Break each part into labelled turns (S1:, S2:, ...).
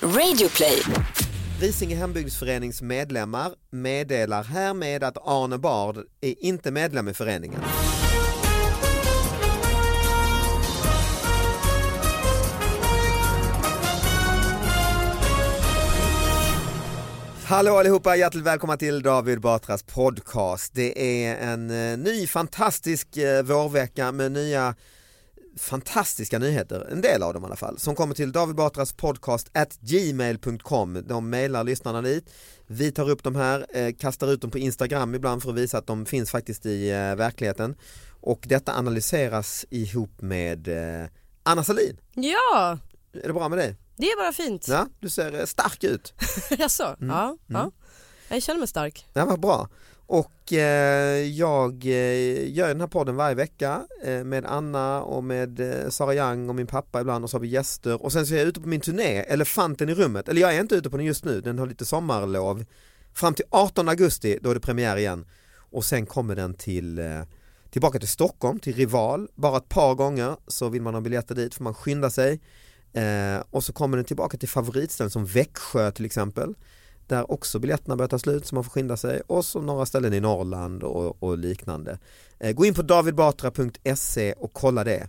S1: Radioplay.
S2: Risinge hembygdsförenings medlemmar meddelar härmed att Arne Bard är inte medlem i föreningen. Hallå allihopa, hjärtligt välkomna till David Batras podcast. Det är en eh, ny fantastisk eh, vårvecka med nya fantastiska nyheter, en del av dem i alla fall, som kommer till David Batras podcast at gmail.com. De mejlar lyssnarna dit. Vi tar upp de här, eh, kastar ut dem på Instagram ibland för att visa att de finns faktiskt i eh, verkligheten. Och detta analyseras ihop med eh, Anna Salin.
S3: Ja,
S2: Är det bra med dig?
S3: det är bara fint.
S2: Ja, Mm. du ser eh, stark ut.
S3: Jaså? Ja, ja. Jag känner mig stark.
S2: Ja, vad bra. Och eh, jag eh, gör den här podden varje vecka eh, med Anna och med eh, Sara Young och min pappa ibland och så har vi gäster och sen så är jag ute på min turné, Elefanten i rummet, eller jag är inte ute på den just nu, den har lite sommarlov. Fram till 18 augusti, då är det premiär igen och sen kommer den till eh, tillbaka till Stockholm, till Rival, bara ett par gånger så vill man ha biljetter dit för man skynda sig. Eh, och så kommer den tillbaka till favoritställen som Växjö till exempel där också biljetterna börjar ta slut så man får skynda sig och så några ställen i Norrland och, och liknande. Eh, gå in på davidbatra.se och kolla det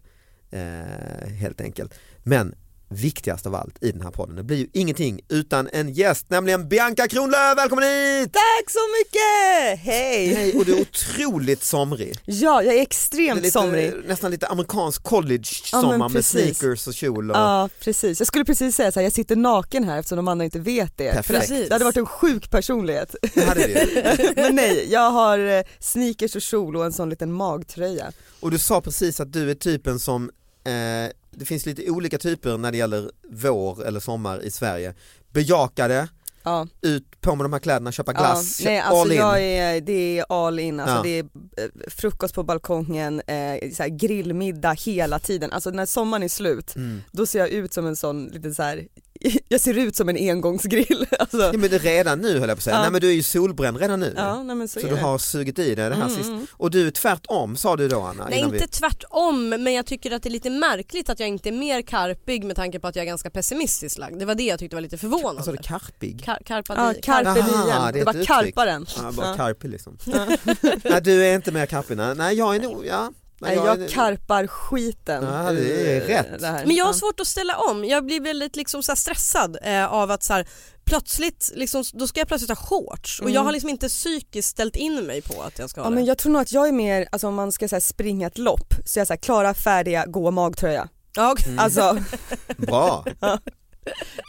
S2: eh, helt enkelt. Men viktigast av allt i den här podden, det blir ju ingenting utan en gäst, nämligen Bianca Kronlöf, välkommen hit!
S4: Tack så mycket! Hej!
S2: Hej, och du är otroligt somrig.
S4: Ja, jag är
S2: Det är
S4: extremt
S2: lite,
S4: somrig.
S2: Nästan lite amerikansk college-sommar
S4: Ja, men
S2: med
S4: precis.
S2: sneakers och kjol. Och...
S4: Ja, precis. Jag skulle precis säga så här, jag sitter naken här eftersom de andra inte vet det. För
S2: Perfekt.
S4: Det hade varit en sjuk personlighet.
S2: Det hade du. ju.
S4: Men nej, jag har eh, sneakers och kjol och en sån liten magtröja.
S2: Och du sa precis att du är typen som, eh, det finns lite olika typer när det gäller vår eller sommar i Sverige. Bejaka det,
S4: Ja,
S2: ut på med de här kläderna, köpa glass,
S4: ja. Nej, alltså
S2: all in.
S4: jag är, det är all in. Alltså
S2: Ja.
S4: Det är eh, frukost på balkongen, eh, så här grillmiddag hela tiden. Alltså när sommaren är slut,
S2: Mm.
S4: då ser jag ut som en sån liten så här. jag ser ut som en engångsgrill. Alltså,
S2: Ja, men det är redan nu höll jag på att säga,
S4: Ja.
S2: nej men du är ju solbränd redan nu.
S4: ja, nej, men så,
S2: Så
S4: är
S2: du
S4: det.
S2: har sugit i dig det här
S4: Mm,
S2: sist.
S4: mm.
S2: Och du är tvärtom sa du då Anna?
S3: Nej
S2: innan vi-
S3: inte tvärtom men jag tycker att det är lite märkligt att jag inte är mer karpig med tanke på att jag är ganska pessimistiskt lagd. Det var det jag tyckte var lite förvånande.
S2: Alltså det är karpig?
S3: Kar- karpade-
S4: Ja, carpe
S2: Aha,
S4: diem.
S2: det är
S4: Det,
S2: ett
S4: var
S2: uttryck.
S4: karparen.
S2: Ja, bara
S4: Ja.
S2: karpig liksom. nej du är inte mer karpig, nej, nej jag är nog, ja.
S4: Nej, jag karpar skiten.
S2: Ja, det är
S4: ur
S2: rätt.
S4: det här.
S3: Men jag har svårt att ställa om. Jag blir väldigt liksom så här stressad eh, av att så här, plötsligt, liksom, då ska jag plötsligt ha shorts och
S4: Mm.
S3: jag har liksom inte psykiskt ställt in mig på att jag ska ha
S4: Ja, men
S3: det.
S4: jag tror nog att jag är mer, alltså om man ska så här, springa ett lopp, så jag är så här, klara, färdiga, gå magtröja.
S3: Ja, okej.
S2: Mm.
S4: Alltså
S2: Bra,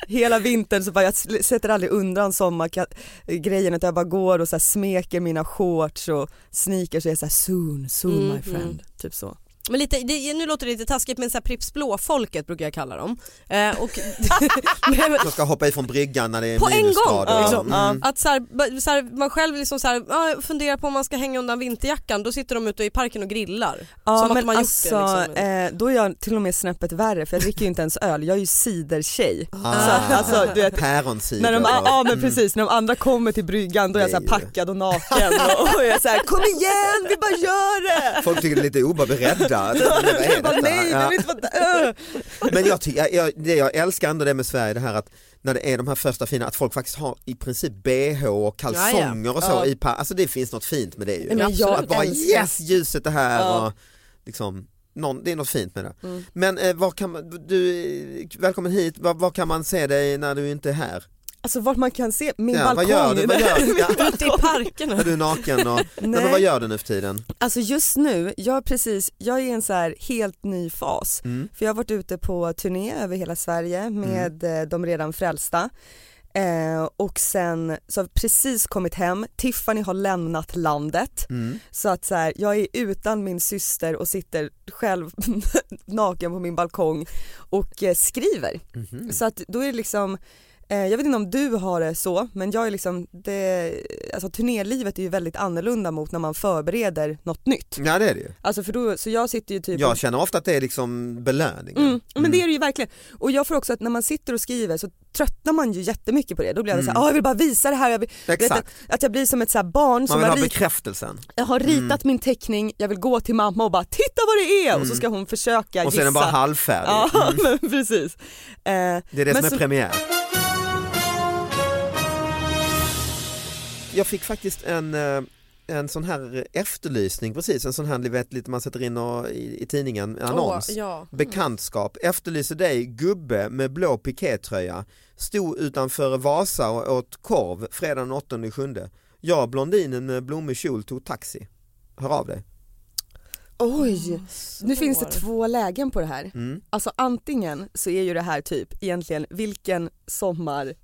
S4: hela vintern så bara, jag sl- sätter aldrig undan sommargrejen utan jag bara går och så här, smeker mina shorts och sneakers och jag är så här, soon, soon
S3: Mm,
S4: my friend.
S3: mm.
S4: Typ så.
S3: Men lite, det, nu låter det lite taskigt men så här Pripps Blå-folket brukar jag kalla dem. Eh, och, Nej, men-
S2: jag ska hoppa ifrån bryggan när det är
S3: På en gång,
S2: minusgrader.
S3: liksom.
S2: Mm.
S3: att så här, ba- så här, man själv liksom så här, ja, funderar på om man ska hänga undan vinterjackan, då sitter de ute i parken och grillar. Som att de har gjort det, liksom.
S4: eh, då är jag till och med snäppet värre för jag dricker ju inte ens öl, jag är ju cidertjej. Så,
S2: Ah.
S4: alltså, du vet,
S2: Päronsider.
S4: När de,
S2: och-
S4: ja men
S2: Mm.
S4: precis, när de andra kommer till bryggan då är jag
S2: Det är
S4: så här packad och naken och, och jag är så här, kom igen vi bara gör det!
S2: Folk tycker det är lite oberedda. Vad är
S4: Jag bara,
S2: detta?
S4: nej
S2: Ja.
S4: jag vill inte vara äh.
S2: Men jag, ty- jag, jag, det jag älskar ändå det med Sverige, det här att när det är de här första fina, att folk faktiskt har i princip bh och kalsonger och så.
S4: Ja.
S2: I pa- alltså det finns något fint med det ju.
S4: Nej, men jag
S2: att bara
S4: älskar-
S2: yes ljuset är här
S4: Ja.
S2: och liksom, någon, det är något fint med det.
S4: Mm.
S2: Men eh, vad kan man, du, välkommen hit, vad, vad kan man se dig när du inte är här?
S4: Alltså vart man kan se, min
S2: Ja,
S4: balkong.
S2: vad gör du? Vad gör du? Ja,
S3: Ute i parkerna.
S2: när du är naken och, nej. men vad
S4: Nej.
S2: gör du nu för tiden?
S4: Alltså just nu, jag är precis, jag är i en så här helt ny fas.
S2: Mm.
S4: För jag har varit ute på turné över hela Sverige med
S2: Mm.
S4: eh, de redan frälsta. Eh, och sen så har vi precis kommit hem, Tiffany har lämnat landet.
S2: Mm.
S4: Så att så här, jag är utan min syster och sitter själv naken på min balkong och eh, skriver.
S2: Mhm.
S4: Så att då är det liksom, eh, jag vet inte om du har det så, men jag är liksom, det, alltså turnélivet är ju väldigt annorlunda mot när man förbereder något nytt.
S2: Ja det är det ju.
S4: Alltså för då, så jag sitter ju typ
S2: Jag känner ofta att det är liksom belöningen.
S4: Mm, men det är det ju verkligen. Och jag får också att när man sitter och skriver så tröttnar man ju jättemycket på det. Då blir jag så
S2: Mm.
S4: såhär, ah, jag vill bara visa det här, jag vill, vet,
S2: Exakt,
S4: att, att jag blir som ett så här barn
S2: man
S4: som
S2: vill ha
S4: har rit-
S2: bekräftelsen.
S4: jag har ritat
S2: Mm.
S4: min teckning, jag vill gå till mamma och bara titta vad det är och så ska hon försöka
S2: Och så
S4: gissa.
S2: är den bara halvfärdig. Mm.
S4: Ja men precis. Eh,
S2: Det är det
S4: Men
S2: som är
S4: så-
S2: premiär. jag fick faktiskt en eh, en sån här efterlysning precis, en sån här ni vet, lite man sätter in och, i, i tidningen, en annons.
S3: Åh, ja.
S4: Mm.
S2: Bekantskap, efterlyser dig gubbe med blå pikétröja. Stod utanför Vasa och åt korv fredagen 8 sjunde. Jag blondinen med blommig kjol tog taxi. Hör av dig.
S4: Oj,
S3: Mm,
S4: nu finns det
S3: Svår.
S4: två lägen på det här.
S2: Mm.
S4: Alltså antingen så är ju det här typ egentligen vilken sommartjej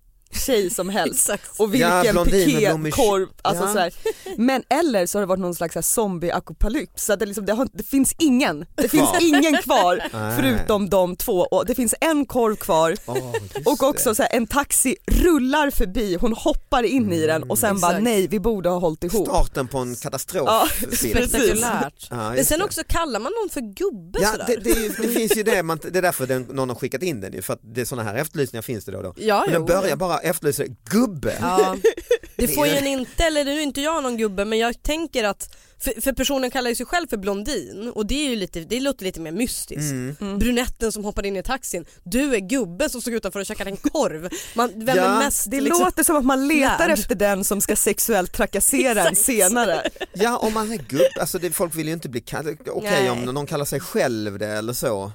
S4: som helst
S3: Exakt.
S4: och
S2: Ja,
S4: vilken
S2: blondin med blommig-
S4: pikékorv, alltså
S2: Ja.
S4: så här. Men eller så har det varit någon slags så här zombie-apokalyps så att det, liksom, det, har, det finns ingen, det finns
S2: Kvar.
S4: ingen kvar
S2: Nej.
S4: förutom de två och det finns en korv kvar
S2: Åh, just
S4: och också
S2: det.
S4: så här, en taxi rullar förbi, hon hoppar in i den och sen
S3: Mm.
S4: bara
S3: Exakt.
S4: nej vi borde ha hållit ihop.
S2: starten på en katastrof.
S4: Ja,
S3: Spektakulärt.
S2: Ja,
S3: Men
S2: just
S3: sen
S2: det.
S3: också kallar man någon för gubbe
S2: Ja,
S3: sådär.
S2: det, det, är ju- det finns ju det, man, det är därför den, någon har skickat in den ju, för att det är sådana här efterlysningar finns det då och då.
S3: ja,
S2: Men
S3: jo.
S2: den börjar bara efterlysa gubbe.
S3: Ja. Det får ju en inte, eller nu är inte jag någon gubbe men jag tänker att, för, för personen kallar ju sig själv för blondin och det, är ju lite, det låter lite mer mystiskt.
S2: Mm.
S3: Brunetten som hoppade in i taxin, du är gubben som stod utanför och käkade en korv. Man, vem
S2: Ja,
S3: är mest
S4: Det
S3: liksom,
S4: låter som att man letar
S3: lärd.
S4: efter den som ska sexuellt trakassera en
S3: Exakt.
S4: senare.
S2: Ja, om man är gubbe, alltså det, folk vill ju inte bli kallade, okej
S3: Nej.
S2: om någon kallar sig själv det eller så,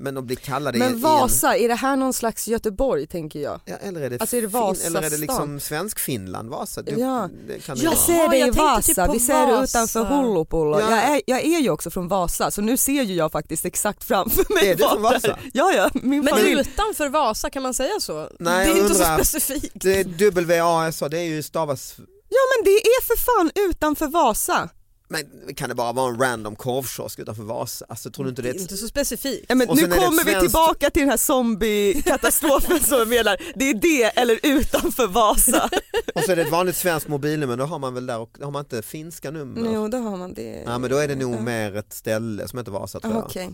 S2: men att bli kallad i,
S4: Men
S2: i
S4: Vasa, är det här någon slags Göteborg tänker jag?
S2: en... Ja, eller är det,
S4: Alltså, är det
S2: fin-
S4: Vasastan?
S2: eller är det liksom svensk-Finland, Vasa? Du,
S4: Ja.
S2: det kan det
S3: Ja,
S4: Jag
S2: vara.
S4: ser dig
S3: jag
S4: i
S3: tänkte
S4: Vasa,
S3: typ på
S4: vi ser det
S3: Vasa.
S4: utanför Holopulo.
S2: Ja.
S4: Jag, är, jag är ju också från Vasa så nu ser ju jag faktiskt exakt framför mig
S2: Är du från Vasa?
S4: Ja, ja, min
S3: Men
S4: familj.
S3: utanför Vasa, kan man säga så?
S2: Nej,
S3: det är
S2: jag
S3: inte
S2: undrar.
S3: så specifikt.
S2: Det är W-A-S-A, det är ju stavas,
S4: Ja men det är för fan utanför Vasa.
S2: men kan det bara vara en random korvkiosk utanför Vasa? Alltså tror du inte det
S3: Det
S2: är
S3: är
S2: ett
S3: inte så specifikt.
S4: Ja, men
S2: Och
S4: nu
S2: sen är det ett
S4: kommer vi
S2: svenskt-
S4: tillbaka till den här zombiekatastrofen som jag menar. Det är det eller utanför Vasa.
S2: Och så är det ett vanligt svenskt mobilnummer, då har man väl där, och har man inte finska nummer?
S4: jo då har man det.
S2: Ja men då är det nog
S4: Ja.
S2: mer ett ställe som heter Vasa tror jag.
S4: Okej.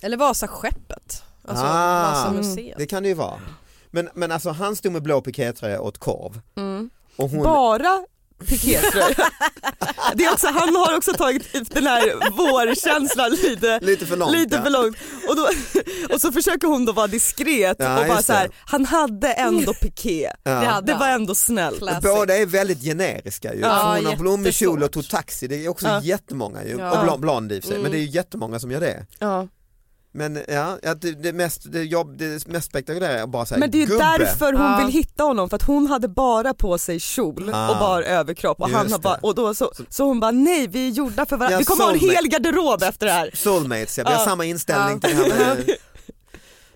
S3: Eller Vasaskeppet. Alltså
S2: Ah.
S3: Vasamuseet.
S2: Det kan det ju vara. Men, men alltså han stod med blå pikétröja och åt korv.
S4: Mm.
S2: Och hon,
S4: Bara pikétröja. det är också, han har också tagit den här vårkänslan lite
S2: lite för långt.
S4: Lite
S2: ja.
S4: för långt. Och, då, och så försöker hon då vara diskret
S2: Ja,
S4: och bara
S2: just
S4: så här,
S2: det.
S4: han hade ändå piké.
S3: Det
S2: Ja.
S3: hade
S4: Det var
S3: han.
S4: ändå snällt.
S3: Classic.
S2: Båda är väldigt generiska ju.
S4: Ja,
S2: För hon har blommig kjol och
S3: jättesvårt.
S2: tog taxi, det är också
S4: Ja.
S2: jättemånga ju.
S3: Ja.
S2: Och blond, blond i och för sig, men
S3: Mm.
S2: det är ju jättemånga som gör det.
S4: Ja.
S2: Men ja, att det, det, mest, det, jobb, det mest spektakulära är att bara säga
S4: Men det är ju
S2: gubbe.
S4: därför hon
S3: Ja.
S4: vill hitta honom för att hon hade bara på sig kjol
S2: Ah.
S4: och bar överkropp och, han
S2: Just
S4: har bara,
S2: det.
S4: och då så, så hon bara nej vi är gjorda för varandra,
S2: Ja,
S4: vi kommer ha en
S2: soulmate.
S4: hel garderob efter det här.
S2: Soulmates, ja. vi har
S4: Ja.
S2: samma inställning till det
S3: Ja.
S2: här med,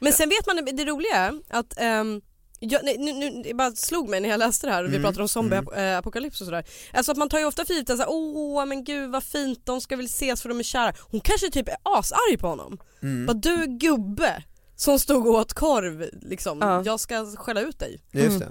S3: Men sen vet man, det roliga är att ehm, jag, nej, nu, nu, det bara slog mig när jag läste det här och vi
S2: Mm,
S3: pratade om zombieapokalyps och sådär. Alltså att man tar ju ofta för givet att så här, åh men gud vad fint de ska väl ses för de är kära. Hon kanske typ är asarg på honom.
S2: Mm.
S3: Bara du gubbe som stod och åt korv liksom,
S4: Ja.
S3: jag ska skälla ut dig.
S2: just det.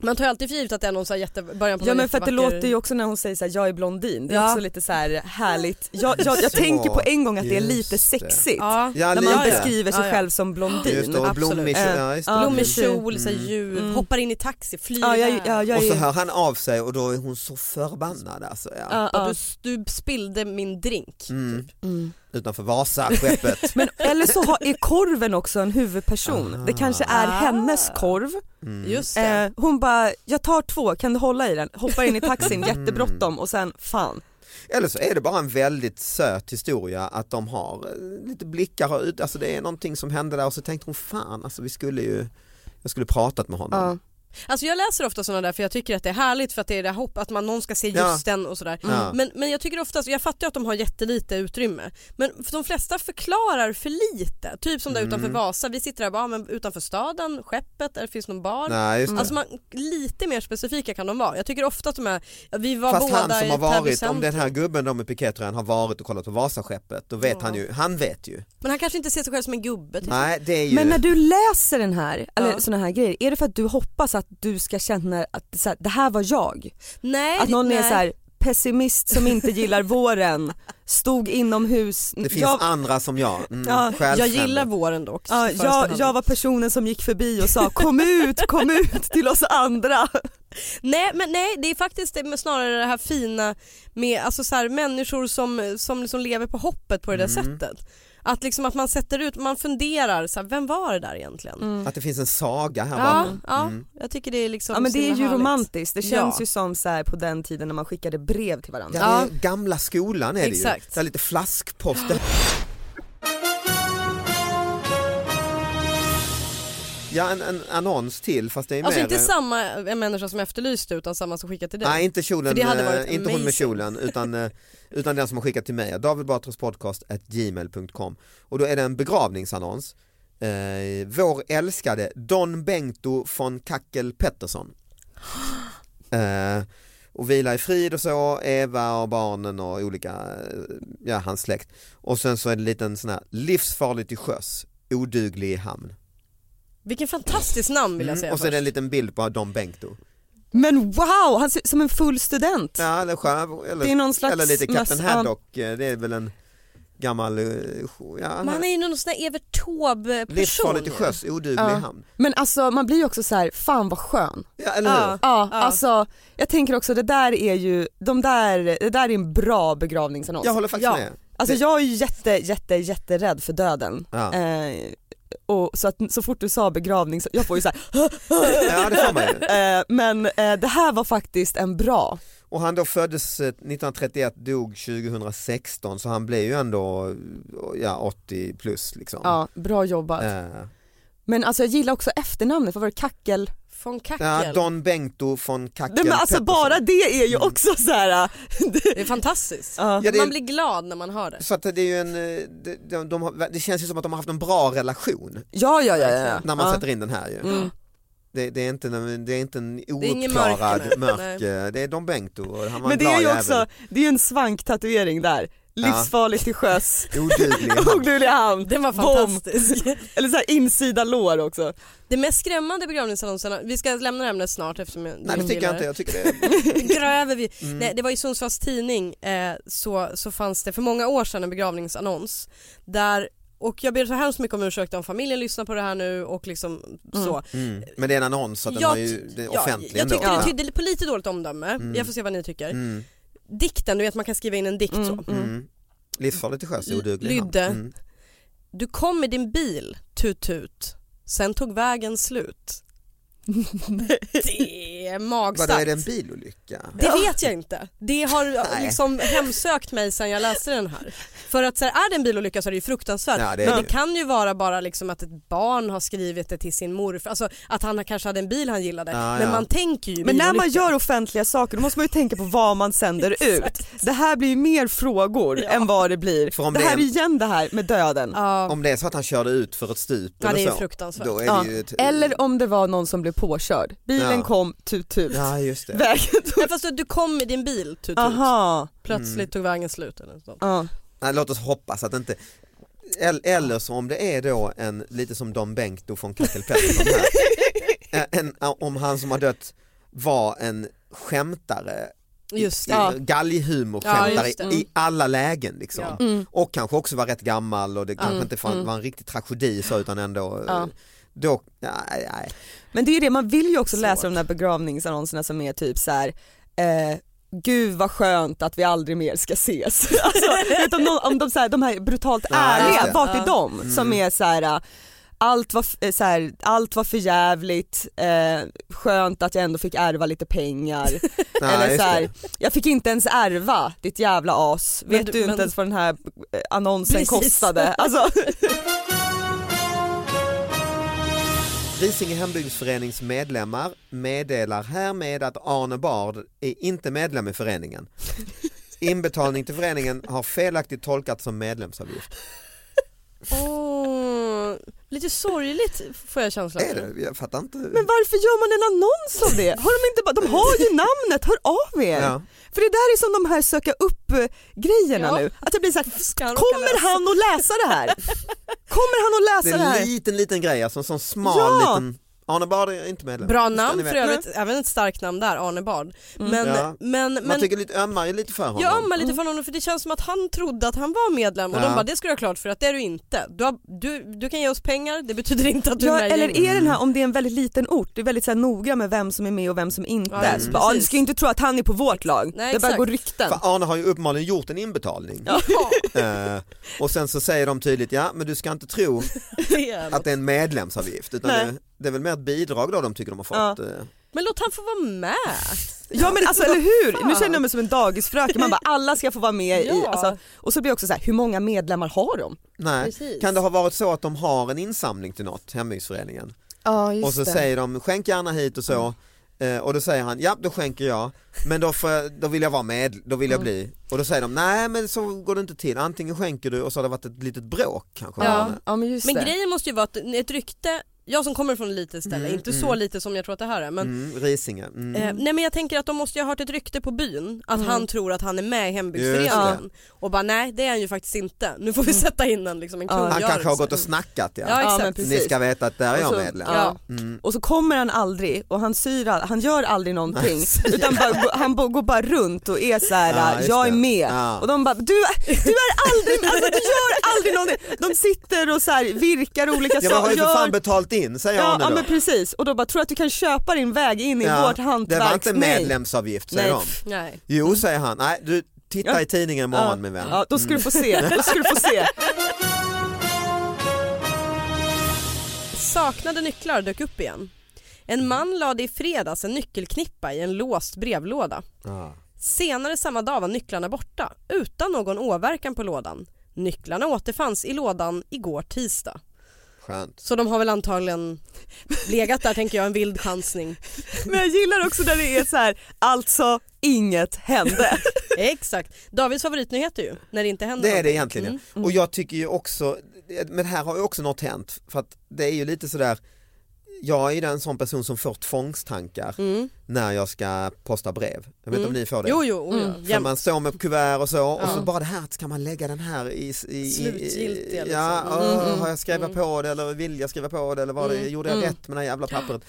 S3: Man tar ju alltid för givet att det är någon så här jätte, början på
S4: Ja
S3: någon
S4: men för att det
S3: jättevacker-
S4: låter ju också när hon säger såhär, jag är blondin, det är
S3: Ja.
S4: också lite så här härligt. Jag, jag, jag
S2: Så,
S4: tänker på en gång att det är
S2: just
S4: lite
S2: det.
S4: sexigt.
S3: Ja,
S2: Ja,
S4: När
S2: lite.
S4: man
S3: Ja, ja.
S4: beskriver sig
S3: Ja, ja.
S4: själv som
S2: Just
S4: blondin.
S2: det, och
S3: absolut.
S2: blommig
S3: eh,
S2: kjol. Ja, just det.
S4: Ja,
S3: Blommig
S4: precis.
S3: kjol, så här, ljuv,
S4: Mm.
S3: hoppar in i taxi, flyr
S4: Ja, jag,
S3: iväg.
S4: ja, jag
S2: Mm. Och så
S4: är-
S2: hör han av sig och då är hon så förbannad alltså. Ja.
S4: Ja,
S3: Bara,
S4: ja.
S3: du, du spillde min drink.
S2: Mm.
S3: Typ.
S4: Mm.
S2: Utanför Vasaskeppet.
S4: Men, eller så har, är korven också en huvudperson.
S2: Ah.
S4: Det kanske är
S3: Ah.
S4: hennes korv.
S2: Mm.
S3: Just det.
S4: Eh, hon bara, jag tar två, kan du hålla i den? Hoppar in i taxin,
S2: Mm.
S4: jättebråttom och sen fan.
S2: Eller så är det bara en väldigt söt historia att de har eh, lite blickar och ut, alltså det är någonting som hände där och så tänkte hon fan alltså vi skulle ju jag skulle pratat med honom.
S3: Alltså jag läser ofta sådana där för jag tycker att det är härligt för att det är det här hopp att man någon ska se
S2: Ja.
S3: just den och sådär.
S2: Ja.
S3: Mm. Men, men jag tycker oftast, jag fattar ju att de har jättelite utrymme, men för de flesta förklarar för lite. Typ som där
S2: Mm.
S3: utanför Vasa, vi sitter där bara, ja, men utanför staden, skeppet, där finns någon bar.
S2: Nej, just det.
S3: Alltså man, lite mer specifika kan de vara. Jag tycker ofta att de är, ja, vi var
S2: Fast
S3: båda
S2: han som har
S3: i Täby
S2: varit, om
S3: centrum.
S2: den här gubben då med pikétröjan har varit och kollat på Vasaskeppet, då vet
S3: Ja.
S2: han ju, han vet ju.
S3: Men han kanske inte ser sig själv som en gubbe. Typ.
S2: Nej det är ju,
S4: Men när du läser den här, eller
S3: Ja.
S4: såna här grejer, är det för att du hoppas att du ska känna att så här, det här var jag?
S2: Eh,
S3: Nej,
S4: Att någon
S3: nej.
S4: är så här pessimist som inte gillar våren, stod inomhus.
S2: det finns
S4: jag,
S2: andra som jag. Mm,
S4: Ja,
S2: självfrände.
S3: jag gillar våren dock.
S4: ja,
S3: i första
S4: jag,
S3: hand.
S4: jag var personen som gick förbi och sa kom ut, kom ut till oss andra.
S3: Nej men nej det är faktiskt det- men snarare det här fina med alltså så här, människor som, som liksom lever på hoppet på det där
S2: Mm.
S3: sättet. Att, liksom att man sätter ut, man funderar, så här, vem var det där egentligen?
S4: Mm.
S2: Att det finns en saga här
S3: Ja,
S2: bakom.
S3: ja,
S2: Mm.
S3: jag tycker det är liksom
S4: Ja men
S3: så
S4: det är
S3: himla
S4: ju
S3: härligt.
S4: romantiskt, det
S3: Ja.
S4: känns ju som så här på den tiden när man skickade brev till varandra.
S2: Ja,
S3: Ja.
S2: det är Gamla skolan är det ju.
S3: Exakt.
S2: Så här lite flaskpost. Ja, en, en annons till fast det är
S3: Alltså
S2: mer...
S3: inte samma eh, människa som efterlyste utan samma som skickade till dig.
S2: Nej, inte kjolen,
S3: För det hade varit
S2: eh, inte hon med
S3: amazing.
S2: kjolen utan, eh, utan den som har skickat till mig, davidbatraspodcast.gmail.com och då är det en begravningsannons. Eh, vår älskade Don Bengto von Kackel Pettersson. Eh, och vila i frid och så, Eva och barnen och olika, eh, ja hans släkt. Och sen så är det en liten sån här, livsfarlig till sjöss, oduglig i hamn. Mm.
S3: Vilken fantastisk namn vill jag säga
S2: och så är det en
S3: först.
S2: liten bild på Don Bengto.
S4: Men wow, han ser ut som en full student.
S2: Ja, eller skär, eller
S4: Det är någon slags
S2: Eller lite Captain
S4: möss-
S2: Haddock, eh, det är väl en gammal... eh, jo- Ja,
S3: Men han är ju någon sån där Evert Taube person.
S2: livsfarlig till sjöss, oduglig
S4: Ja.
S2: i hamn.
S4: Men alltså man blir ju också så här, fan vad skön.
S2: Ja, eller
S3: Ja.
S2: hur?
S4: Ja,
S3: Ja.
S4: alltså jag tänker också det där är ju, de där, det där är en bra begravningsannons.
S2: Jag håller faktiskt
S3: Ja.
S2: med.
S4: alltså
S2: det-
S4: jag är ju jätte, jätte, jätterädd för döden.
S2: Ja.
S4: Eh, och så att så fort du sa begravning, så, jag får ju så här,
S2: ja, det får man ju.
S4: eh, men eh, det här var faktiskt en bra.
S2: Och han då föddes eh, 1931, dog 2016, så han blev ju ändå eh, ja, 80 plus liksom.
S4: Ja, bra jobbat.
S2: Eh,
S4: Men alltså jag gillar också efternamnet, vad var det, Kackel?
S3: Von Kackel.
S2: Ja, Don Bengto von Kackel
S4: Nej, men alltså
S2: Pettersson.
S4: bara det är ju
S2: Mm.
S4: också så här.
S3: Det är fantastiskt.
S4: ja.
S2: Ja, det är-
S3: Man blir glad när man hör det.
S2: Så att det är ju en, eh, de, de, de, har- det känns ju som att de har haft en bra relation
S4: Ja, ja, ja, ja.
S2: när man
S4: ja.
S2: sätter in den här ju.
S4: Mm.
S2: Det, det, är inte, en- det är inte en
S3: är ingen
S2: ouppklarad
S3: mörker, nej.
S2: mörk, eh, det är Don Bengto och han var en
S4: Men det är
S2: glad
S4: ju
S2: jävel.
S4: också, det är ju en svanktatuering där. Livsfarligt till sjöss,
S2: Oduglig.
S4: oduglig hamn.
S3: Den var
S4: Bom.
S3: fantastisk.
S4: Eller så här insida lår också.
S3: Det mest skrämmande i begravningsannonserna, vi ska lämna det ämnet snart eftersom jag
S2: Nej det tycker jag inte, jag tycker det är...
S3: Gräver vi.
S2: Mm.
S3: Nej, det var i Sundsvalls tidning eh, så, så fanns det för många år sedan en begravningsannons där och jag ber så hemskt mycket om ursäkt om familjen lyssnar på det här nu och liksom så.
S2: Mm. Men det är en annons så att den
S3: Jag
S2: har ju, det är offentlig
S3: jag
S2: ändå.
S3: tyckte det
S2: Ja.
S3: tydde på lite dåligt omdöme, jag får se vad ni tycker.
S2: mm.
S3: Dikten, du vet man kan skriva in en dikt så.
S2: Mm. Livsfarligt till sjöss, oduglig.
S3: Lydde.
S2: Mm.
S3: Du kom i din bil, tut tut, sen tog vägen slut. det är magstarkt.
S2: Vadå är det en bilolycka?
S3: Det vet jag inte. Det har
S2: Nej.
S3: liksom hemsökt mig sen jag läste den här. För att så här, är det en bilolycka så är det ju fruktansvärt.
S2: Ja, det är
S3: Men
S2: det.
S3: det kan ju vara bara liksom att ett barn har skrivit det till sin morfar, alltså att han kanske hade en bil han gillade.
S2: Ja,
S3: Men
S2: ja.
S3: man tänker ju
S4: Men när man
S3: bilolycka.
S4: gör offentliga saker då måste man ju tänka på vad man sänder ut. Det här blir ju mer frågor
S3: Ja.
S4: än vad det blir.
S2: För om
S4: det
S2: det är
S4: här
S2: en-
S4: är igen det här med döden.
S3: Ja,
S2: Om det är så att han körde ut för ett stup
S3: ja det är
S2: eller
S3: ju
S2: så,
S3: fruktansvärt.
S2: då är
S4: Ja.
S2: det ju ett...
S4: Eller om det var någon som blev påkörd. Bilen
S2: Ja.
S4: kom, tut tut.
S2: Ja just det.
S4: Vägen tog...
S3: Men fast du kom i din bil tut tut,
S4: Aha.
S3: plötsligt tog vägen slut eller sånt.
S4: Ja.
S2: Nej, låt oss hoppas att inte El- eller så om det är då en, lite som Don Bengto från Kackel Pettersson här, en, en, om han som har dött var en skämtare
S3: Just det.
S4: Ja.
S3: Ja,
S2: galghumor-skämtare
S3: just det.
S2: i alla lägen liksom.
S3: Ja.
S4: Mm.
S2: Och kanske också var rätt gammal och det kanske
S4: Mm,
S2: inte fan,
S4: mm.
S2: var en riktig tragedi så utan ändå
S4: Ja.
S2: Då, nej, nej.
S4: Men det är ju det, man vill ju också
S3: Svårt.
S4: läsa de där begravningsannonserna som är typ så här. Eh, Gud vad skönt att vi aldrig mer ska ses. alltså, utan någon, om de, så här, de här brutalt
S2: Ja,
S4: ärliga,
S2: just det.
S4: vart är
S3: Ja.
S4: de?
S2: Mm.
S4: Som är så här, eh, allt var, f- eh, så här, allt var för jävligt, eh, skönt att jag ändå fick ärva lite pengar.
S2: nej
S4: Eller
S2: just
S4: så här,
S2: det.
S4: jag fick inte ens ärva ditt jävla as,
S3: Men
S4: vet
S3: du-
S4: du inte
S3: men-
S4: ens vad den här eh, annonsen
S3: Precis.
S4: kostade? Alltså,
S2: Risinge hembygdsförenings medlemmar meddelar härmed att Arne Bard är inte medlem i föreningen. Inbetalning till föreningen har felaktigt tolkats som medlemsavgift.
S3: Åh, lite sorgligt får jag känslan
S2: Är
S3: av.
S2: det? Jag fattar inte.
S4: men varför gör man en annons av det? Har de, inte bara, de har ju namnet, hör av er!
S2: Ja.
S4: För det där är som de här söka upp eh, grejerna
S3: Ja.
S4: nu, att jag blir så här,
S3: Ska han råka
S4: kommer
S3: läsa?
S4: han att läsa det här? Kommer han att
S2: Det
S4: läsa det
S2: är
S4: här?
S2: en liten liten grej, alltså en sån smal
S4: Ja.
S2: liten Arne Bard är inte medlem.
S3: Bra
S2: Just det,
S3: namn
S2: ni vet.
S3: för övrigt, även ett starkt namn där, Arne Bard.
S4: Mm.
S3: Men,
S2: Ja.
S3: men,
S2: Man
S3: men
S2: tycker lite, ömmar ju lite för honom.
S3: jag ömmar lite
S4: Mm.
S3: för honom för det känns som att han trodde att han var medlem och
S2: Ja.
S3: de bara det ska du ha klart för att det är du inte. Du, har, du, du kan ge oss pengar, det betyder inte att du är
S4: Ja,
S3: med i
S4: eller
S3: gänget.
S4: är den här, om det är en väldigt liten ort, det är väldigt så här, noga med vem som är med och vem som inte
S3: Ja,
S4: är.
S2: just
S4: Så bara, Ja, du
S3: precis.
S4: ska ju inte tro att han är på vårt lag,
S3: Nej,
S4: det bara
S3: exakt.
S4: går rykten.
S2: För Arne har ju uppenbarligen gjort en inbetalning.
S3: Ja,
S2: Eh, och sen så säger de tydligt, ja men du ska inte tro
S3: det är
S2: att
S3: något.
S2: det är en medlemsavgift utan
S4: Nej.
S2: det, det är väl mer ett bidrag då de tycker de har fått. eh.
S3: Men låt han få vara med.
S4: Ja men alltså eller hur, nu
S3: Fan.
S4: känner jag mig som en dagisfröken, man bara alla ska få vara med i,
S3: Ja.
S4: alltså, och så blir jag också så här, hur många medlemmar har de?
S2: Nej.
S3: Precis.
S2: Kan det ha varit så att de har en insamling till något, hembygdsföreningen?
S4: Ja
S2: och så säger de skänk gärna hit och
S4: Mm.
S2: så. Eh, och då säger han ja då skänker jag men då, får, jag- då vill jag vara med, då vill jag
S4: Mm.
S2: bli. Och då säger de nej men så går det inte till, antingen skänker du och så har det varit ett litet bråk kanske. med
S4: ja.
S2: Arne.
S4: ja men just
S3: Men
S4: det.
S3: grejen måste ju vara att ett rykte, jag som kommer från ett litet ställe,
S2: Mm,
S3: inte
S2: mm.
S3: så lite som jag tror att det här är men
S2: Mm, Risinge. Mm.
S3: Eh, nej men jag tänker att de måste ju ha hört ett rykte på byn att
S4: Mm.
S3: han tror att han är med i
S2: Just Mm.
S3: hembygdsföreningen och bara nej det är han ju faktiskt inte. Nu får vi sätta in en, liksom, en
S4: Ja.
S3: kungörelse.
S2: han kanske har gått och snackat ja.
S3: Ja,
S4: ja,
S3: exakt.
S4: men
S2: Ni
S4: precis.
S2: ska veta att där är
S4: Och
S2: jag
S4: så-
S2: medlem.
S4: Ja.
S2: Mm.
S4: Och så kommer han aldrig och han syr all, han gör aldrig någonting
S2: Nej.
S4: utan bara, han bara- går bara runt och är så
S2: Ja,
S4: här,
S2: just
S4: jag är
S2: det.
S4: med.
S2: Ja.
S4: Och de bara, du, du är aldrig, alltså, du gör aldrig någonting. De sitter och så här, virkar olika
S2: Jag har
S4: saker.
S2: ju för fan
S4: gör-
S2: betalt in säger
S4: Ja,
S2: Arne
S4: ja
S2: då.
S4: men precis och då bara, tror du att du kan köpa din väg in i
S2: Ja,
S4: vårt hantverk?
S2: Det var inte
S4: Nej.
S2: medlemsavgift säger
S4: Nej.
S2: de.
S3: Nej.
S2: Jo säger han, nej du titta
S4: Ja.
S2: i tidningen imorgon min vän.
S4: Ja, då ska du
S2: Mm.
S4: få se. Då ska du få se.
S3: Saknade nycklar dök upp igen.
S2: Mm.
S3: En man lade i fredags en nyckelknippa i en låst brevlåda.
S2: Ja.
S3: Senare samma dag var nycklarna borta utan någon åverkan på lådan. Nycklarna återfanns i lådan igår tisdag.
S2: Skönt.
S3: Så de har väl antagligen legat där tänker jag, en vild chansning.
S4: Men jag gillar också när det är så här, alltså inget hände.
S3: Exakt. Davids favoritnyheter ju, när det inte händer
S2: Det är det
S3: någonting.
S2: egentligen
S3: Mm.
S2: ja. Och jag tycker ju också, men här har ju också något hänt för att det är ju lite sådär jag är ju en sån person som får tvångstankar
S3: Mm.
S2: när jag ska posta brev. Jag vet inte
S3: Mm.
S2: om ni får det?
S3: Jo, jo, oh, ja.
S4: Mm.
S2: För
S3: Jämt.
S2: man står med kuvert och så och så
S3: Ja.
S2: bara det här ska man lägga den här i... i- i
S3: Slutgiltiga, liksom.
S2: Ja,
S3: Mm,
S2: åh,
S4: mm,
S2: har jag skrivit
S3: mm.
S2: på det eller vill jag skriva på det eller var det,
S3: Mm,
S2: gjorde jag
S4: mm.
S2: rätt med det här jävla pappret?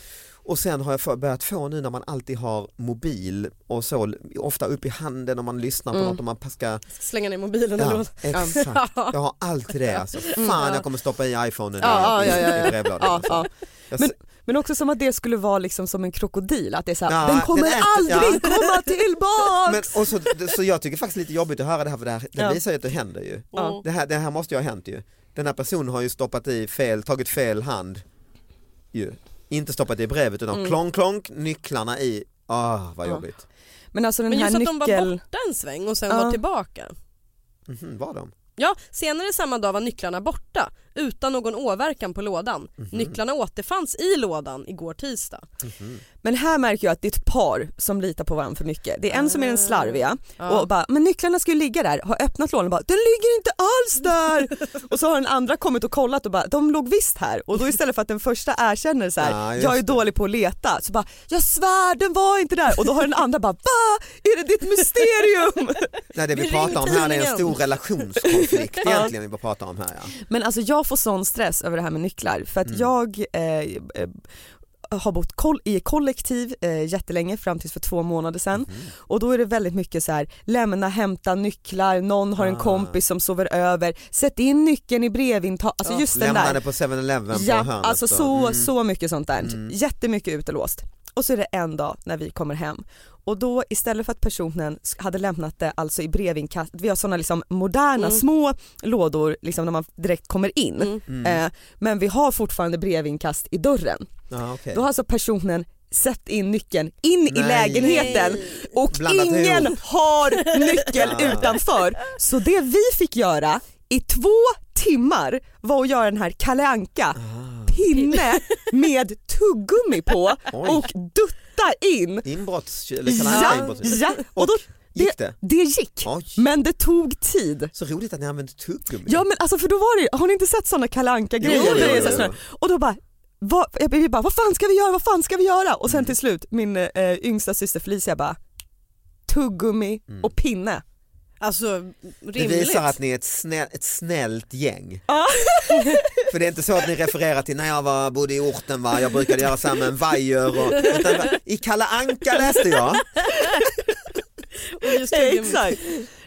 S2: Och sen har jag för, börjat få nu när man alltid har mobil och så ofta upp i handen om man lyssnar på
S4: Mm.
S2: något och man ska...
S3: Slänga ner mobilen eller
S2: Ja,
S3: något.
S2: exakt. Jag har alltid det alltså. Fan
S4: Mm. Ja.
S2: jag kommer stoppa i iPhonen
S4: Ja,
S2: i,
S4: ja, ja,
S2: i,
S4: ja.
S2: i brevlådan.
S4: Ja,
S2: alltså.
S4: ja.
S2: Jag,
S4: Men- Men också som att det skulle vara liksom som en krokodil, att det är så här,
S2: Ja,
S4: den kommer
S2: den äter-
S4: aldrig komma tillbaks.
S2: men, och så, så jag tycker faktiskt lite jobbigt att höra det här för det, här, det
S4: Ja.
S2: visar ju att det händer ju.
S4: Ja.
S2: Det här, det här måste ju ha hänt ju. Den här personen har ju stoppat i fel, tagit fel hand. Ju. Inte stoppat i brevet utan
S4: Mm.
S2: klonk klonk, nycklarna i. Ah, vad
S4: Ja.
S2: jobbigt.
S4: Men alltså den
S3: Men
S4: här
S3: just att de var
S4: nyckeln,
S3: borta en sväng och sen
S4: Ja.
S3: var tillbaka.
S2: Mhm, var de?
S3: Ja, senare samma dag var nycklarna borta utan någon åverkan på lådan. Nycklarna återfanns i lådan igår tisdag.
S2: Mhm.
S4: men här märker jag att det är ett par som litar på varandra för mycket. Det är en som är den slarviga
S3: Ah. Ja.
S4: och bara, men nycklarna ska ju ligga där, har öppnat lådan och bara, den ligger inte alls där. och så har den andra kommit och kollat och bara, de låg visst här. Och då istället för att den första erkänner så här,
S2: Ja, just
S4: jag är
S2: det.
S4: dålig på att leta, så bara, jag svär den var inte där. Och då har den andra bara, va? Är det ditt mysterium?
S2: Nej det vi,
S3: Vi
S2: pratar om
S3: ringde
S2: här det är en
S3: tidningen.
S2: stor relationskonflikt
S4: Ja.
S2: egentligen vi bara pratar om här ja.
S4: Men alltså jag får sån stress över det här med nycklar för att
S2: Mm.
S4: jag eh, eh, har bott koll- i kollektiv eh, jättelänge fram tills för två månader sedan
S2: Mhm.
S4: och då är det väldigt mycket så här lämna, hämta nycklar, någon har en
S2: Ah.
S4: kompis som sover över, sätt in nyckeln i brevintag, alltså
S3: Ja.
S4: just den där.
S2: Lämnade på 7-Eleven på
S4: Ja,
S2: hörnet.
S4: alltså
S2: då.
S4: så,
S2: Mm.
S4: så mycket sånt där.
S2: Mm.
S4: Jättemycket utelåst. Och så är det en dag när vi kommer hem och då istället för att personen sk- hade lämnat det alltså i brevinkast, vi har sådana liksom moderna
S3: Mm.
S4: små lådor liksom när man direkt kommer in.
S3: Mm.
S2: Mm.
S4: Eh, men vi har fortfarande brevinkast i dörren.
S2: Ja, okej.
S4: Då har alltså personen sett in nyckeln in i
S2: Nej.
S4: lägenheten och
S2: Blandat
S4: ingen
S2: ihop.
S4: har nyckel
S2: Ja.
S4: utanför. Så det vi fick göra i två timmar var att göra den här Kalle Anka
S2: Ah,
S4: pinne med tuggummi på
S2: oj.
S4: och dutta in.
S2: Inbrotts... Eller kan han säga
S4: Ja,
S2: inbrotts-
S4: ja, och då,
S2: Gick det?
S4: det gick.
S2: Oj.
S4: Men det tog tid.
S2: Så roligt att ni använde tuggummi.
S4: Ja men alltså för då var det har ni inte sett sådana Kalle Anka grejer?
S2: Jo, jo, jo, jo.
S4: Och då bara vad, jag, vi bara, vad fan ska vi göra, vad fan ska vi göra? Och
S2: Mm.
S4: sen till slut min eh, yngsta syster Felicia bara tuggummi
S2: Mm.
S4: och pinne.
S3: Alltså
S2: Det
S3: rimligt.
S2: visar att ni är ett, snä, ett snällt gäng.
S4: Ja.
S2: För det är inte så att ni refererar till när jag var, bodde i orten, va? jag brukade göra samma en vajer och utan, va, i Kalle Anka läste jag.
S3: Och just det,
S4: Exakt.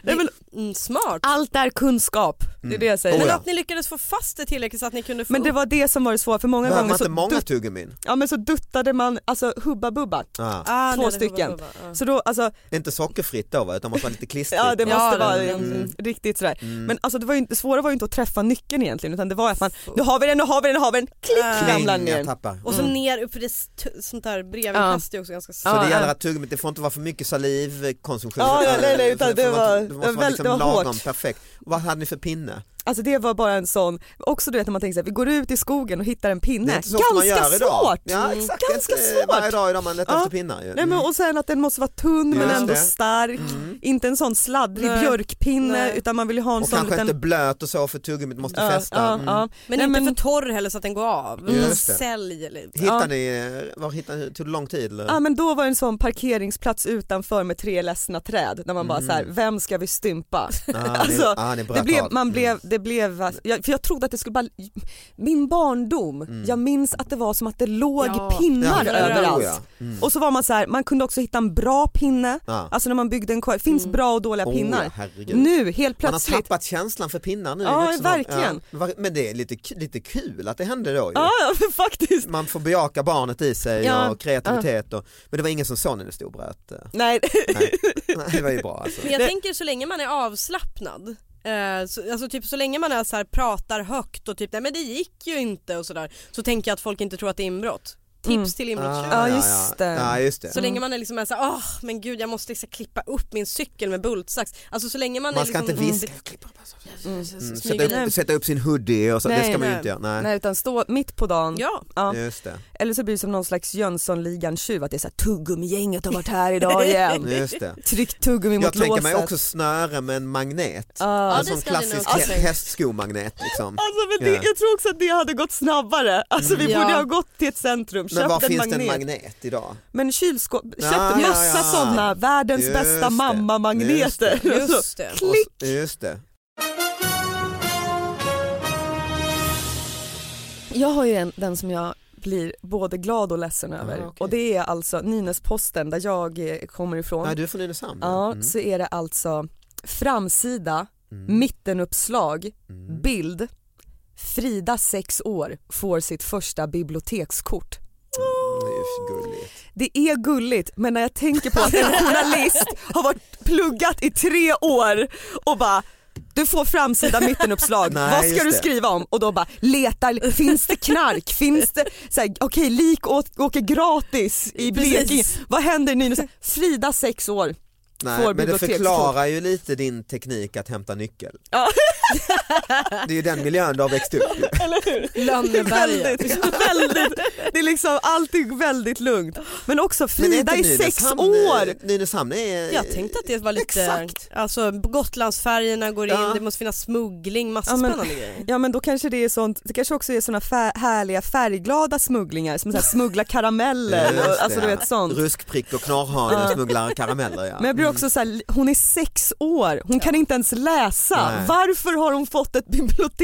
S4: Nej, men
S3: Mm, smart.
S4: allt är kunskap, det är det jag säger.
S2: Oh
S3: Men
S2: ja.
S3: att ni lyckades få fast det tillräckligt så att ni kunde få
S4: Men det
S3: upp-
S4: var det som var det svåra för många
S2: Behöver man
S4: gånger
S2: inte
S4: så,
S2: många
S4: dut-
S2: tuggummin?
S4: ja, men så duttade man, alltså hubba bubba.
S2: Ah.
S3: Ah, nej,
S4: två
S3: det var-
S4: stycken.
S3: var- var- ja.
S4: Så då, alltså,
S2: Inte sockerfritt då va? utan måste vara lite klistrigt.
S4: ja det
S3: Ja,
S4: måste
S3: det
S4: vara
S3: var det.
S4: mm, riktigt sådär.
S2: Mm.
S4: Men alltså det, var ju, inte- det svåra var ju inte att träffa nyckeln egentligen utan det var att man, nu har vi den, nu har vi den, nu har vi den, klick
S2: Kling,
S4: ramlar
S2: jag
S4: ner.
S2: tappar. Mm.
S3: Och så ner upp i det st- sånt där brevinkast är också ganska
S2: Så
S4: Ja,
S2: det gäller
S4: ja.
S2: att tuggummit, det får inte vara för mycket salivkonsumtion.
S4: Ja, ja, nej, nej,
S2: För-
S4: utan
S2: för
S4: det
S2: man-
S4: var-
S2: det måste
S4: väl-
S2: vara
S4: det
S2: liksom
S4: var
S2: lagom,
S4: hårt.
S2: perfekt. Vad hade ni för pinne?
S4: Alltså det var bara en sån, också du vet när man tänker såhär, vi går ut i skogen och hittar en pinne.
S2: Det är inte så ofta man
S4: Ganska
S2: gör idag.
S4: svårt!
S2: Ja, exakt. Det är
S4: Ganska
S2: inte
S4: svårt.
S2: Varje dag idag man letar
S4: Ja.
S2: efter pinnar ju.
S4: Nej, men, och sen att den måste vara tunn men
S2: Just
S4: ändå
S2: det.
S4: stark,
S2: Mm.
S4: inte en sån sladdrig
S3: Nej.
S4: björkpinne
S3: Nej.
S4: utan man vill ju ha en
S2: Och
S4: sån
S2: kanske
S4: liten
S2: inte blöt och så för tuggummit måste
S4: Ja,
S2: fästa.
S4: ja,
S2: Mm.
S4: ja.
S3: Men
S4: Nej,
S3: inte
S4: men-
S3: för torr heller så att den går av.
S2: Just
S3: Utan
S2: det.
S3: Sälj eller...
S2: Hittar
S4: Ja.
S2: ni, var hittar ni, tog det lång tid eller?
S4: Ja men då var det en sån parkeringsplats utanför med tre ledsna träd där man bara
S2: Mm.
S4: så här, vem ska vi stympa?
S2: ah,
S4: alltså,
S2: ni, ah, ni bröt
S4: Det blev,
S2: av.
S4: man
S2: Mm.
S4: blev, det blev, jag, för jag trodde att det skulle bara, min barndom,
S2: Mm.
S4: jag minns att det var som att det låg
S3: Ja.
S4: pinnar
S3: Ja,
S4: överallt.
S2: Oh, ja. Mm.
S4: Och så var man så här, man kunde också hitta en bra pinne,
S2: Ah.
S4: alltså när man byggde en korg, finns
S3: Mm.
S4: bra och dåliga
S2: Oh,
S4: pinnar.
S2: ja, herregud.
S4: Nu helt
S2: man har
S4: plötsligt,
S2: tappat känslan för pinnar nu. i
S4: Ja,
S2: vuxen ålder.
S4: verkligen.
S2: Ja. Var- Men det är lite, ku- lite kul att det hände då ju.
S4: ja ja, faktiskt.
S2: Man får bejaka barnet i sig
S4: Ja.
S2: och kreativitet. Och, men det var ingen som sa när det stod och bröt. eh.
S4: Nej,
S2: Nej. Nej, det var ju bra alltså.
S3: Men jag
S4: Det-
S3: tänker så länge man är avslappnad eh, så, alltså typ så länge man är så här, pratar högt och typ nej men det gick ju inte och sådär så tänker jag att folk inte tror att det är inbrott. Tips
S4: Mm.
S3: till inbrottstjuvar.
S4: Ja, just det.
S2: Ah, Ja, just det.
S3: Så länge man är liksom är såhär, åh men gud jag måste liksom klippa upp min cykel med bultsax. Alltså så länge man,
S2: Man
S3: är
S2: ska
S3: liksom,
S2: inte viska.
S4: Mm.
S2: Mm,
S3: smyga
S2: sätta,
S3: lite.
S2: upp, sätta upp sin hoodie och så, det
S4: Nej,
S2: ska man ju
S3: nej.
S2: inte göra. Nej.
S4: nej utan stå mitt på dagen,
S3: Ja,
S4: ja.
S2: Just det.
S4: eller så blir det som någon slags Jönssonligan-tjuv att det är såhär tuggummigänget har varit här idag igen.
S2: Just det.
S4: Tryckt tuggummi
S2: Jag
S4: mot
S2: tänker
S4: låset.
S2: mig också snöre med en magnet.
S4: Ja.
S2: en
S3: det
S2: sån
S3: ska ni nog
S2: klassisk
S3: också
S2: hä-
S3: tänka.
S2: hästsko-magnet. Liksom.
S4: Alltså, men det,
S2: Ja.
S4: Jag tror också att det hade gått snabbare. Alltså, vi
S3: Mm.
S4: borde
S3: Ja.
S4: ha gått till ett centrum, köpt
S2: Men var
S4: en
S2: finns
S4: magnet.
S2: det en magnet idag?
S4: men kylskåp, köpt
S2: ja, ja.
S4: massa sådana, världens
S2: Just det.
S4: bästa mamma-magneter. Alltså, Så,
S3: just det.
S4: Klick!
S2: Och, just det.
S4: Jag har ju en, den som jag blir både glad och ledsen över
S2: Ah, okej.
S4: och det är alltså Nynäsposten där jag eh, kommer ifrån.
S2: Nej, du är från Nynäshamn?
S4: ja,
S2: Mm.
S4: Så är det alltså framsida,
S2: Mm.
S4: mittenuppslag,
S2: Mm.
S4: bild, Frida sex år får sitt första bibliotekskort.
S2: Mm, Det är ju gulligt.
S4: Det är gulligt men när jag tänker på att en journalist har varit pluggat i tre år och bara du får framsida mittenuppslag,
S2: Nej,
S4: vad
S2: just
S4: ska du
S2: det.
S4: skriva om? Och då bara letar, finns det knark? Finns det, så här, okej lik å- åker gratis i
S3: Precis.
S4: Blekinge, vad händer i Nynäshamn? Frida sex år, Får
S2: Nej, men det
S4: bibliotekskort.
S2: förklarar ju lite din teknik att hämta nyckel.
S4: Ja.
S2: Det är ju den miljön du har växt upp i.
S4: eller hur?
S3: Lönneberga.
S4: Väldigt, väldigt, det är liksom allting väldigt lugnt. Men också
S2: Men är
S4: Frida
S2: inte
S4: är sex
S2: Nynäshamn- eh,
S4: år.
S2: Nynäshamn är...
S3: Jag tänkte att det var lite,
S2: Exakt.
S3: alltså Gotlandsfärjorna går in,
S2: Ja.
S3: det måste finnas smuggling, massa
S4: Ja, men-
S3: spännande grejer.
S4: Ja men då kanske det är sånt, det kanske också är såna fär, härliga färgglada smugglingar som så här smugglar karameller,
S2: Just
S4: och,
S2: det,
S4: alltså du
S2: ja.
S4: vet sånt.
S2: Ruskprick och knarrhane smugglar karameller ja.
S4: Men jag blir också så här, hon är sex år, hon kan inte ens läsa.
S2: Nej.
S4: Varför har hon fått ett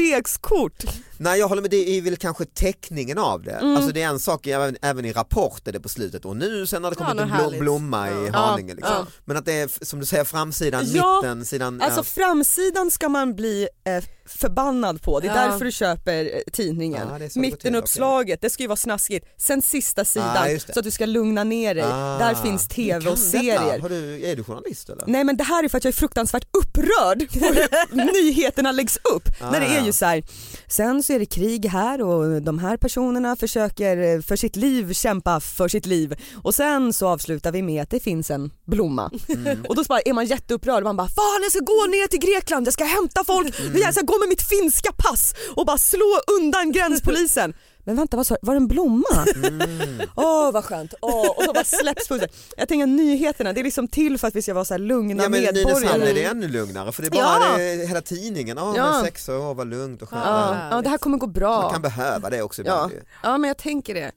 S4: bibliotekskort?
S2: Mm. Nej jag håller med, det är väl kanske teckningen av det.
S4: Mm.
S2: Alltså det är en sak även, även i Rapport är det på slutet och nu sen har det
S3: Ja,
S2: kommit
S3: något
S2: en blom,
S3: härligt.
S2: blomma i
S3: Ja.
S2: Haninge.
S3: Ja,
S2: Liksom.
S3: ja.
S2: Men att det är som du säger framsidan,
S4: Ja,
S2: mitten, sidan.
S4: Alltså
S2: ja.
S4: framsidan ska man bli eh, förbannad på, det är
S3: Ja.
S4: därför du köper eh, tidningen.
S2: Ja, det är så det går till,
S4: Mittenuppslaget, det ska ju vara snaskigt. Sen sista sidan
S2: Ah, just det.
S4: så att du ska lugna ner dig.
S2: Ah,
S4: Där finns
S2: du
S4: tv
S2: kan
S4: och
S2: detta.
S4: serier.
S2: Har du, är du journalist eller?
S4: Nej men det här är för att jag är fruktansvärt upprörd på hur nyheterna läggs upp.
S2: Ah,
S4: när det är
S2: ja.
S4: ju så här. sen så är det krig här och de här personerna försöker eh, för sitt liv kämpa för sitt liv. Och sen så avslutar vi med att det finns en blomma.
S2: Mm.
S4: Och då så bara är man jätteupprörd man bara fan jag ska gå ner till Grekland, jag ska hämta folk,
S2: Mm.
S4: jag ska gå med mitt finska pass och bara slå undan gränspolisen. Men vänta vad sa du, var det en blomma?
S2: Mm.
S4: Åh vad skönt, Åh, och så bara släpps pulsen. Jag tänker nyheterna, det är liksom till för att vi ska vara så här lugna
S2: Ja men i Nynäshamn
S4: medborgare.
S2: är det ännu lugnare för det är bara
S4: Ja.
S2: det, hela tidningen, oh,
S4: Ja.
S2: men sex år, åh, vad lugnt och skönt.
S3: Ja.
S4: Ja, ja det här kommer gå
S2: Man
S4: bra.
S2: kan behöva det också
S4: Ja.
S2: ibland ju.
S4: ja men jag tänker det.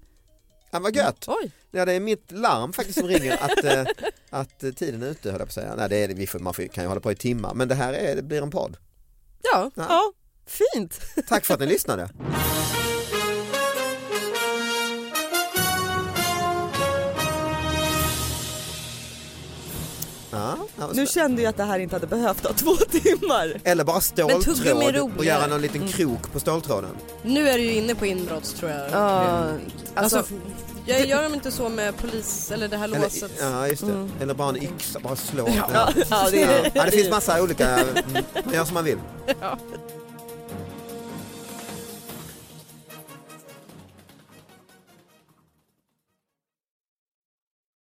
S2: Ja, vad gött!
S3: Oj,
S2: Ja, det är mitt larm faktiskt som ringer att, eh, att eh, tiden är ute höll jag på att säga. Nej, det är, det. vi får, man får, kan ju hålla på i timmar men det här är, det blir en podd.
S3: ja.
S2: Ja.
S4: Ja, fint.
S2: Tack för att ni lyssnade. Ja, ja, vad
S4: Nu
S2: spä-
S4: kände jag att det här inte hade behövt ha två timmar.
S2: Eller bara
S3: tuggummi är
S2: ståltråd och
S3: roligare.
S2: göra någon liten krok på ståltråden.
S3: Nu är du ju inne på inbrott tror jag.
S4: Ja,
S3: Alltså,
S4: alltså,
S3: f- jag gör dem inte så med polis eller det här
S2: Eller,
S3: låset.
S2: ja, just det.
S4: Mm.
S2: Eller bara en yxa, bara slå.
S4: ja, ja, det
S2: Ja.
S4: är
S2: Ja, det finns massa olika, mm, man gör som man vill.
S3: Ja.